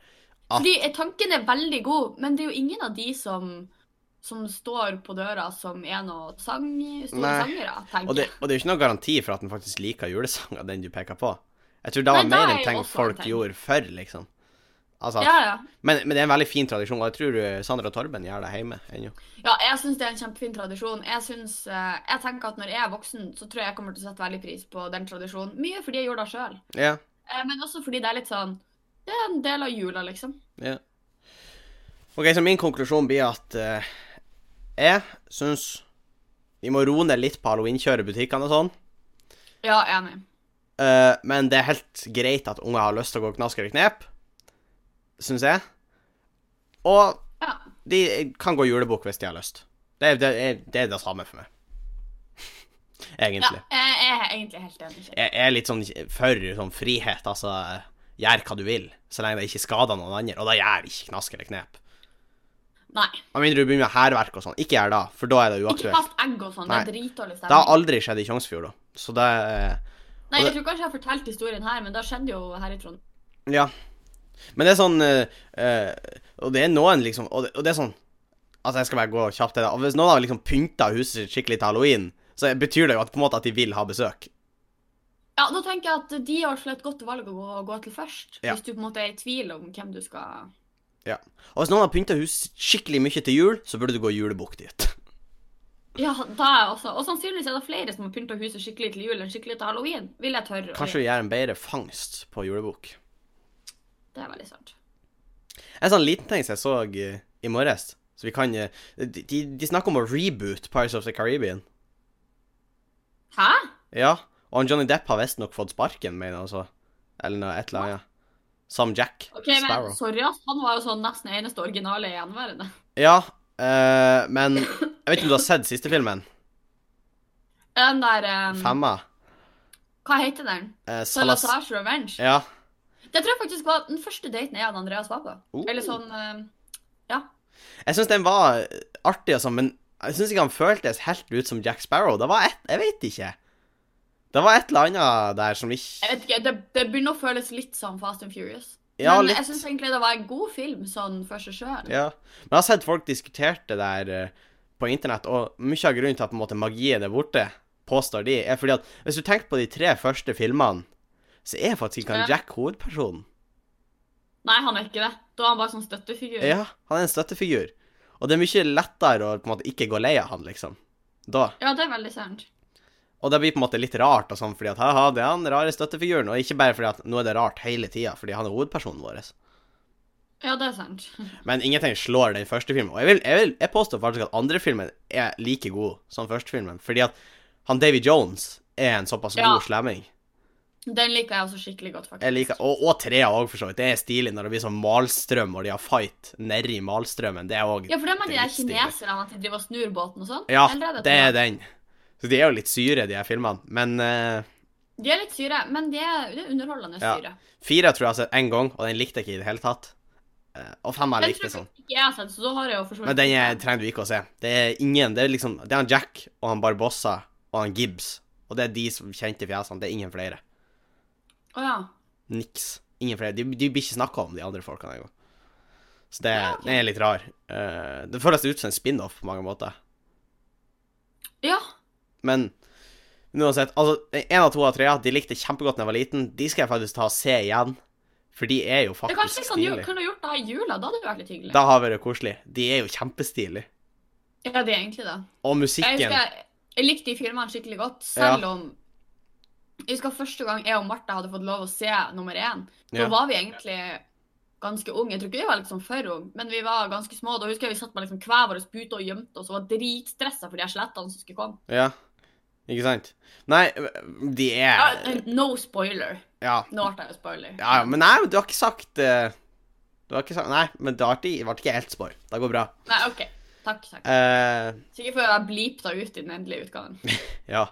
Speaker 2: Ah.
Speaker 1: Fordi eh, tanken er veldig god, men det er jo ingen av de som som står på døra som er noen sang, store
Speaker 2: Nei.
Speaker 1: sangere, tenker
Speaker 2: og, det,
Speaker 1: jeg.
Speaker 2: og det er jo ikke noen garanti for at den faktisk liker julesanger, den du peker på. Jeg tror det
Speaker 1: Nei,
Speaker 2: var
Speaker 1: det
Speaker 2: mer
Speaker 1: er
Speaker 2: en
Speaker 1: jo
Speaker 2: ting
Speaker 1: også en
Speaker 2: folk
Speaker 1: ting.
Speaker 2: gjorde før, liksom. Altså,
Speaker 1: Ja, ja.
Speaker 2: men, men det er en veldig fin tradisjon, og jeg tror eh, Sandra og Torben gjør det hjemme ennå.
Speaker 1: Ja, jeg syns det er en kjempefin tradisjon. Jeg, synes, eh, jeg tenker at Når jeg er voksen, så tror jeg jeg kommer til å sette veldig pris på den tradisjonen. Mye fordi jeg gjorde det sjøl,
Speaker 2: Ja.
Speaker 1: men også fordi det er litt sånn Det er en del av jula, liksom.
Speaker 2: Ja. OK, så min konklusjon blir at eh, jeg syns vi må roe ned litt på halloweenkjøret i butikkene og sånn.
Speaker 1: Ja, enig.
Speaker 2: Eh, men det er helt greit at unger har lyst til å gå knask eller knep, syns jeg. Og
Speaker 1: Ja.
Speaker 2: de kan gå julebukk hvis de har lyst. Det er det, er, det, er det samme for meg.
Speaker 1: ja
Speaker 2: Egentlig.
Speaker 1: jeg jeg er egentlig helt enig.
Speaker 2: Jeg jeg er litt sånn for sånn frihet, altså. Gjør hva du vil, så lenge det ikke skader noen andre. Og da gjør ikke knask eller knep.
Speaker 1: Nei.
Speaker 2: Med mindre du begynner med hærverk og sånn. Ikke gjør det, for da er det
Speaker 1: Ikke
Speaker 2: uaktuelt.
Speaker 1: kast egg og sånn. Det er dritdårlig
Speaker 2: Det har
Speaker 1: stemning.
Speaker 2: aldri skjedd i Tjongsfjord, da. Så det eh,
Speaker 1: Nei, jeg tror kanskje jeg har fortalt historien her, men det skjedde jo her i Trond.
Speaker 2: Ja. Men det er sånn eh, eh, Og det er noen, liksom Og det, og det er sånn Altså, jeg skal bare gå kjapt til det. Og hvis noen har liksom pynta huset sitt skikkelig til halloween, så betyr det jo at, på en måte at de vil ha besøk.
Speaker 1: Ja, da tenker jeg at de har slett godt valg å gå, gå til først,
Speaker 2: Ja.
Speaker 1: hvis du på en måte er i tvil om hvem du skal
Speaker 2: Og hvis noen har pynta huset sitt skikkelig mye til jul, så burde du gå julebukk dit.
Speaker 1: Ja, da er jeg også. Og sannsynligvis er det flere som har pynta huset skikkelig til jul enn skikkelig til halloween. Vil jeg tørre å
Speaker 2: Kanskje vi gjør en bedre fangst på julebukk.
Speaker 1: gjøre. Det er veldig sant.
Speaker 2: En sånn liten ting som jeg så eh, i morges, som Så vi kan eh, De, de- de snakker om å reboot Pirates of the Caribbean.
Speaker 1: Hæ?
Speaker 2: Ja. Og han Johnny Depp har visstnok fått sparken, mener jeg altså. Eller noe, et eller annet. Som Jack
Speaker 1: Ok, men
Speaker 2: Sparrow.
Speaker 1: sorry, ass. Han var jo sånn nesten eneste originale gjenværende.
Speaker 2: Ja, eh, men Jeg vet ikke om du har sett siste filmen?
Speaker 1: Den der em,
Speaker 2: Femma?
Speaker 1: Hva heter den?
Speaker 2: Eh, Salas...
Speaker 1: Salazar's Revenge.
Speaker 2: Ja.
Speaker 1: Det tror jeg faktisk var den første daten jeg og Andreas var på.
Speaker 2: Oh.
Speaker 1: Eller sånn em,
Speaker 2: Jeg syns den var artig og sånn, men jeg syns ikke han føltes helt ut som Jack Sparrow. Det var et Jeg vet ikke. Det var et eller annet der som
Speaker 1: Jeg
Speaker 2: ikke
Speaker 1: vet ikke, det, det begynner å føles litt som Fast and Furious.
Speaker 2: Ja,
Speaker 1: men
Speaker 2: litt.
Speaker 1: jeg syns egentlig det var en god film sånn for seg sjøl.
Speaker 2: Ja. Men jeg har sett folk diskutert det der eh, på internett, og mye av grunnen til at på en måte, magien er borte, påstår de, er fordi at hvis du tenker på de tre første filmene, så er faktisk ikke han
Speaker 1: Ja.
Speaker 2: Jack hovedpersonen.
Speaker 1: Nei, han er ikke det. Da er han bare sånn støttefigur.
Speaker 2: Ja, han er en støttefigur. Og det er mye lettere å på en måte ikke gå lei av han, liksom. Da.
Speaker 1: Ja, det er veldig sant.
Speaker 2: Og det blir på en måte litt rart og sånn, fordi at haha, det er han rare støttefiguren, og ikke bare fordi at nå er det rart hele tida, fordi han er hovedpersonen vår.
Speaker 1: Ja, det er sant.
Speaker 2: Men ingenting slår den første filmen. Og jeg, vil, jeg, vil, jeg påstår faktisk at andre filmen er like god som første filmen, fordi at han Davy Jones er en såpass
Speaker 1: Ja.
Speaker 2: god slemming.
Speaker 1: Den liker jeg også skikkelig godt, faktisk.
Speaker 2: Jeg liker, og, og trea òg, for så vidt. Det er stilig når det blir sånn malstrøm, og de har fight nedi malstrømmen. Det er òg
Speaker 1: Ja, for det er med de
Speaker 2: Det er
Speaker 1: der
Speaker 2: litt stilig.
Speaker 1: kineserne at de driver og snur båten og sånn.
Speaker 2: Ja,
Speaker 1: Eller
Speaker 2: det er den. Så de er jo litt syre, de her filmene. Men eh,
Speaker 1: De er litt syre, men de er, det er underholdende
Speaker 2: Ja.
Speaker 1: syre.
Speaker 2: fire tror jeg har sett én gang, og den likte jeg ikke i det hele tatt. Eh, og fem har
Speaker 1: Den
Speaker 2: jeg likt
Speaker 1: tror
Speaker 2: det sånn.
Speaker 1: jeg ikke jeg har sett, så da har jeg jo forsvunnet.
Speaker 2: Men den er, trenger du ikke å se. Det er ingen, det er liksom Det er han Jack og han Barbossa og han Gibbs. Og det er de som kjente fjesene. Det er ingen flere.
Speaker 1: Å ja.
Speaker 2: Niks. Ingen flere. De, de blir ikke snakka om, de andre folkene engang. Så det, den er litt rar. Eh, det føles ut som en spin-off på mange måter.
Speaker 1: Ja.
Speaker 2: Men uansett, altså, én av to av tre, de likte kjempegodt da jeg var liten. De skal jeg faktisk ta og se igjen. For de er jo
Speaker 1: Det kanskje sånn vi
Speaker 2: faktisk
Speaker 1: kan, gjøre-
Speaker 2: stilige.
Speaker 1: kunne gjort det her i jula. Da hadde det vært litt hyggelig.
Speaker 2: Det har vært koselig. De er jo kjempestilige.
Speaker 1: Ja, det er egentlig det.
Speaker 2: Og
Speaker 1: Jeg
Speaker 2: musikken.
Speaker 1: husker jeg, jeg likte de filmene skikkelig godt, selv om Jeg husker første gang jeg og Martha hadde fått lov å se nummer én. Da
Speaker 2: Ja.
Speaker 1: var vi egentlig ganske unge. Jeg tror ikke vi var liksom for unge, men vi var ganske små. Da husker jeg vi satt med liksom hver vår pute og gjemte oss og var dritstressa for de her skjelettene som skulle komme.
Speaker 2: Ja. Ikke sant? Nei, de er
Speaker 1: Ja, eh,
Speaker 2: Ja.
Speaker 1: no spoiler.
Speaker 2: ja.
Speaker 1: Nå ble jeg jo spoiler.
Speaker 2: ja men nei, du har ikke sagt eh, Du har ikke sagt Nei, men det ble ikke helt spoil. Det går bra.
Speaker 1: Nei, OK. Takk, takk.
Speaker 2: Eh,
Speaker 1: Sikkert får jeg bleepa ut i den endelige utgaven.
Speaker 2: ja.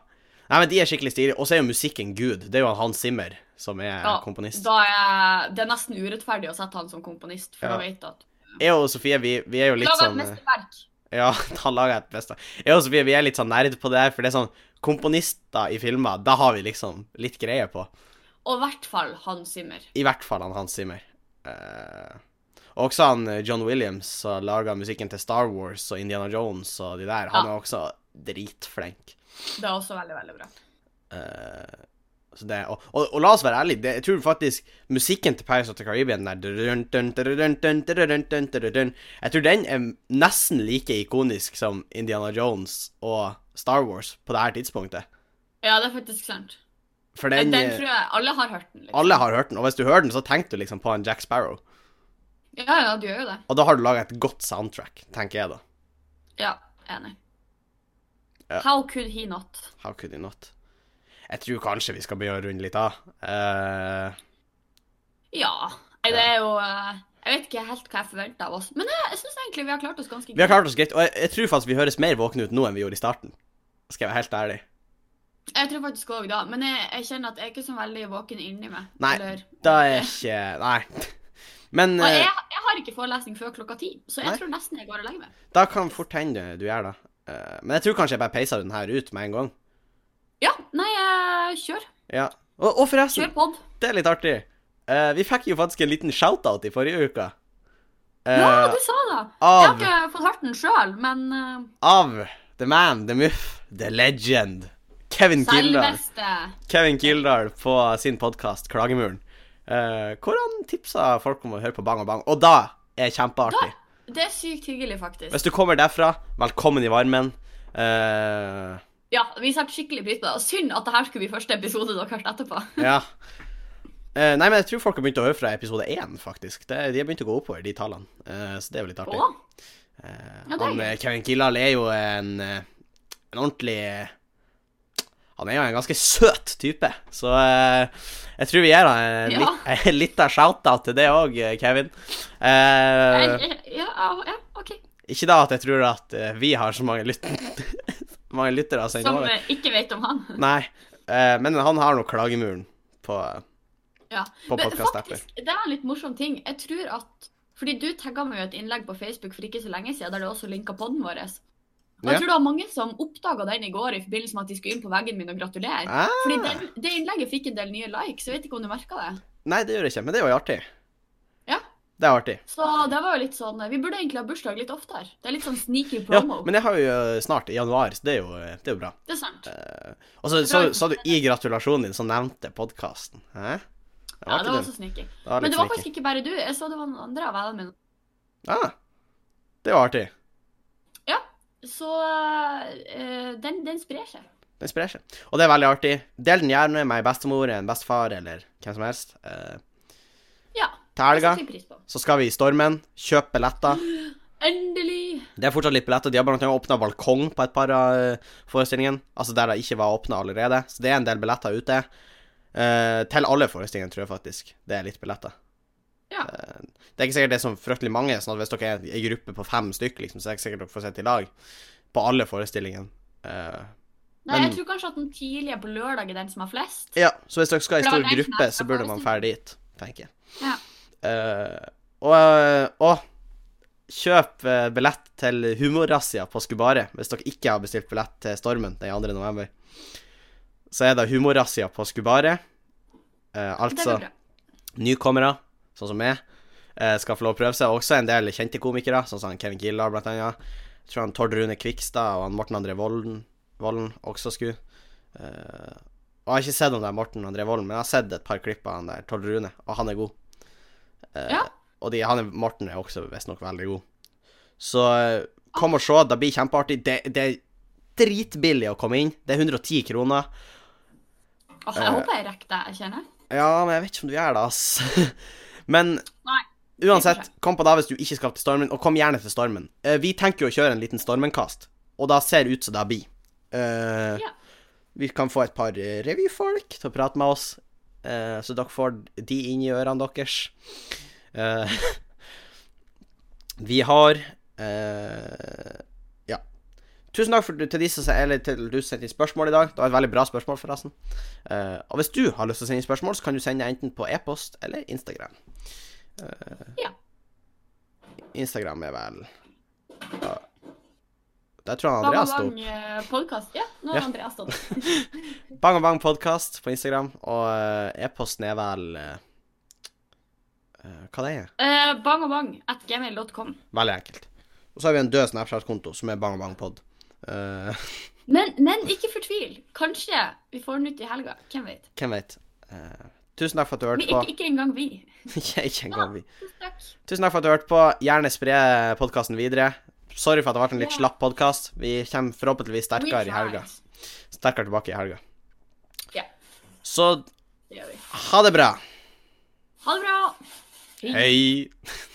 Speaker 2: Nei, men de er skikkelig stilige. Og så er jo musikken gud. Det er jo han Hans Zimmer som er
Speaker 1: Ja,
Speaker 2: komponist.
Speaker 1: Da er det er nesten urettferdig å sette han som komponist, for
Speaker 2: Ja.
Speaker 1: da vet jeg at
Speaker 2: Jeg og Sofie, vi, vi er jo litt
Speaker 1: Lag et
Speaker 2: sånn eh,
Speaker 1: mesterverk.
Speaker 2: Ja, han lager et beste. Jeg og Sofie, vi er litt sånn nerd på det her, for det er sånn Komponister i filmer, da har vi liksom litt greie på.
Speaker 1: Og i hvert fall Hans Zimmer.
Speaker 2: I hvert fall han Hans Zimmer. Eh, og også han eh, John Williams, som laga musikken til Star Wars og Indiana Jones og de der. Han
Speaker 1: Ja.
Speaker 2: er også dritflink.
Speaker 1: Det er også veldig, veldig bra.
Speaker 2: Eh, så det, og, og, og la oss være ærlige, det- jeg tror faktisk musikken til Pirates of the Caribbean den der dun, dun, dun, dun, dun, dun, dun, dun, dun, dun, Jeg tror den er nesten like ikonisk som Indiana Jones og Star Wars på det her tidspunktet.
Speaker 1: Ja, det er faktisk sant.
Speaker 2: For
Speaker 1: Den,
Speaker 2: den, eh,
Speaker 1: tror jeg alle har hørt den. Liksom.
Speaker 2: Alle har hørt den, og hvis du hører den, så tenker du liksom på en Jack Sparrow.
Speaker 1: Ja, ja, du gjør jo det.
Speaker 2: Og da har du laga et godt soundtrack, tenker jeg da.
Speaker 1: Ja, enig.
Speaker 2: Ja.
Speaker 1: How could he not?
Speaker 2: How could he not? Jeg tror kanskje vi skal begynne å runde litt av. Eh,
Speaker 1: Ja. Nei, Det er jo eh, Jeg vet ikke helt hva jeg forventer av oss, men jeg, jeg syns egentlig vi har klart oss ganske
Speaker 2: vi har klart oss greit, og jeg, jeg tror faktisk vi høres mer våkne ut nå enn vi gjorde i starten. Skal jeg være helt ærlig.
Speaker 1: Jeg tror faktisk òg da, men jeg, jeg kjenner at jeg er ikke så veldig våken inni meg.
Speaker 2: Nei.
Speaker 1: Eller...
Speaker 2: Da er jeg ikke Nei. Men
Speaker 1: Og
Speaker 2: eh,
Speaker 1: jeg, jeg har ikke forelesning før klokka ti, så jeg
Speaker 2: Nei.
Speaker 1: tror nesten jeg går og legger meg.
Speaker 2: da kan fort hende du gjør det. Eh, men jeg tror kanskje jeg bare peiser den her ut med en gang.
Speaker 1: Ja, nei, eh, kjør.
Speaker 2: Ja. Og, og forresten,
Speaker 1: Kjør pod.
Speaker 2: det er litt artig. Eh, vi fikk jo faktisk en liten shout-out i forrige uke. Eh,
Speaker 1: Ja, du sa det! Jeg har
Speaker 2: av,
Speaker 1: ikke fått hørt den sjøl, men eh,
Speaker 2: av The Man, The Muff, The Legend. Kevin Kildahl.
Speaker 1: selveste
Speaker 2: Kevin Kildahl på sin podkast Klagemuren, eh, hvor han tipsa folk om å høre på Bang og Bang. Og da er kjempeartig.
Speaker 1: Det er sykt hyggelig, faktisk.
Speaker 2: Hvis du kommer derfra, velkommen i varmen. Eh,
Speaker 1: Ja, vi setter skikkelig pris på det. Og synd at det her skulle bli første episode dere hørte etterpå.
Speaker 2: ja. Eh, nei, men jeg tror folk har begynt å høre fra episode én, faktisk. Det, de har begynt å gå oppover, de tallene. Eh, så det er jo litt artig.
Speaker 1: Å,
Speaker 2: Eh,
Speaker 1: Ja, det er
Speaker 2: han, eh, Kevin Kildahl er jo en, eh, en ordentlig eh, Han er jo en ganske søt type, så eh, jeg tror vi gir han en
Speaker 1: Ja.
Speaker 2: lit- en liten shout-out til det òg, Kevin. Eh,
Speaker 1: Jeg- jeg- Ja, ja, ja, OK.
Speaker 2: ikke da at jeg tror at eh, vi har så mange, lyt mange lyttere å sende
Speaker 1: Som
Speaker 2: over.
Speaker 1: eh, ikke vet om han.
Speaker 2: Nei, eh, men han har nå klagemuren på,
Speaker 1: Ja,
Speaker 2: på
Speaker 1: Men
Speaker 2: podkast-apper.
Speaker 1: faktisk, det er en litt morsom ting. Jeg tror at Fordi du tagga meg jo et innlegg på Facebook for ikke så lenge siden der du også linka podden vår. Og
Speaker 2: Ja.
Speaker 1: jeg tror det var mange som oppdaga den i går i forbindelse med at de skulle inn på veggen min og gratulere.
Speaker 2: Ah,
Speaker 1: Fordi den, det innlegget fikk en del nye likes, jeg vet ikke om du merka det.
Speaker 2: nei, det gjør jeg ikke, men det er jo artig.
Speaker 1: Ja.
Speaker 2: Det er artig.
Speaker 1: Så det var jo litt sånn Vi burde egentlig ha bursdag litt oftere. Det er litt sånn sneaky
Speaker 2: Ja,
Speaker 1: promo.
Speaker 2: men jeg har jo eh, snart i januar, så det er jo, eh, det er jo bra.
Speaker 1: Det er sant.
Speaker 2: Og så så- sa du i gratulasjonen din, så nevnte podkasten. Hæ? Det
Speaker 1: Ja,
Speaker 2: var
Speaker 1: det
Speaker 2: ikke
Speaker 1: var
Speaker 2: den.
Speaker 1: også sneaky.
Speaker 2: Det var
Speaker 1: Men
Speaker 2: litt
Speaker 1: det var
Speaker 2: sneaky.
Speaker 1: faktisk ikke bare du. Jeg så det var noen andre av vennene mine.
Speaker 2: Ah, det var artig.
Speaker 1: Så eh, den, den sprer seg.
Speaker 2: Den sprer seg. Og det er veldig artig. Del den gjerne med ei bestemor, en bestefar eller hvem som helst. Eh,
Speaker 1: Ja.
Speaker 2: til
Speaker 1: Det
Speaker 2: helga
Speaker 1: setter vi pris på.
Speaker 2: så skal vi i stormen. Kjøp billetter.
Speaker 1: Endelig!
Speaker 2: Det er fortsatt litt billetter. De har blant annet åpna balkong på et par av forestillingene. Altså der det ikke var åpna allerede. Så det er en del billetter ute. Eh, til alle forestillingene, tror jeg faktisk. Det er litt billetter.
Speaker 1: Ja.
Speaker 2: Eh, det er ikke sikkert det er så fryktelig mange. sånn at Hvis dere er en gruppe på fem stykker, liksom, så er det ikke sikkert dere får sitte i lag på alle forestillingene. Eh,
Speaker 1: Nei,
Speaker 2: Men-
Speaker 1: jeg tror kanskje at den tidlige på lørdag er den som har flest.
Speaker 2: ja, så hvis dere skal i
Speaker 1: For det var
Speaker 2: stor
Speaker 1: det som
Speaker 2: gruppe,
Speaker 1: jeg
Speaker 2: så
Speaker 1: skal
Speaker 2: burde man
Speaker 1: forestille.
Speaker 2: dra dit, tenker jeg.
Speaker 1: Ja.
Speaker 2: Eh, og, og kjøp eh, billett til Humorrazzia på Skubaret hvis dere ikke har bestilt billett til Stormen den 2. november. Så er det Humorrazzia på Skubaret. Eh,
Speaker 1: Det
Speaker 2: altså
Speaker 1: går bra.
Speaker 2: nykommere, sånn som meg, eh, skal få lov å prøve seg. Også en del kjente komikere, sånn som han Kevin Gillar, blant annet. Jeg tror han Tord Rune Kvikstad og han Morten André Volden, Volden også skulle. Eh, og jeg har ikke sett om det er Morten André Volden, men jeg har sett et par klipp av han der Tord Rune, og han er god. Eh,
Speaker 1: Ja.
Speaker 2: Og de, han er, Morten er også visstnok veldig god. Så eh, kom og se, det blir kjempeartig. Det, det er dritbillig å komme inn. Det er 110 kroner.
Speaker 1: Åh,
Speaker 2: eh,
Speaker 1: jeg håper jeg rekker det, jeg kjenner.
Speaker 2: Ja, men jeg vet ikke om du gjør det, ass. Men
Speaker 1: Nei,
Speaker 2: uansett, kom på da hvis du ikke skal til Stormen, og kom gjerne til Stormen. Eh, vi tenker jo å kjøre en liten Stormen-kast, og da ser det ut som det blir. Eh,
Speaker 1: Ja.
Speaker 2: Vi kan få et par eh, revyfolk til å prate med oss, eh, så dere får de inn i ørene deres. Eh, vi har eh, Ja. Tusen takk for, til de som eller til du som sendte inn spørsmål i dag. Det var et veldig bra spørsmål, forresten. Eh, og hvis du har lyst til å sende inn spørsmål, så kan du sende enten på e-post eller Instagram. Eh,
Speaker 1: Ja.
Speaker 2: Instagram er vel ja. Der tror jeg
Speaker 1: Bang
Speaker 2: Andreas
Speaker 1: og
Speaker 2: sto.
Speaker 1: bang eh, podcast. Ja, nå har
Speaker 2: Ja.
Speaker 1: Andreas stått.
Speaker 2: Bang og bang podkast på Instagram, og eh, e-posten er vel eh, eh, Hva det er
Speaker 1: Eh, bang og bang at gmail.com.
Speaker 2: Veldig enkelt. Og så har vi en død Snapchat-konto, som er bang og bang pod. Eh,
Speaker 1: Men, men ikke fortvil. Kanskje vi får den ut i helga. Hvem vet.
Speaker 2: hvem vet. Eh, tusen takk for at du
Speaker 1: Men
Speaker 2: hørte
Speaker 1: ikke,
Speaker 2: på.
Speaker 1: Ah! ikke engang vi.
Speaker 2: ikke, ikke engang vi.
Speaker 1: Tusen takk.
Speaker 2: Tusen takk for at du hørte på. Gjerne spre podkasten videre. Sorry for at det ble en litt
Speaker 1: Ja.
Speaker 2: slapp podkast. Vi kommer
Speaker 1: We
Speaker 2: forhåpentligvis sterkere i
Speaker 1: tried.
Speaker 2: helga. Sterkere tilbake i helga.
Speaker 1: Ja.
Speaker 2: Så
Speaker 1: Det gjør vi.
Speaker 2: ha det bra.
Speaker 1: Ha det bra.
Speaker 2: Hei.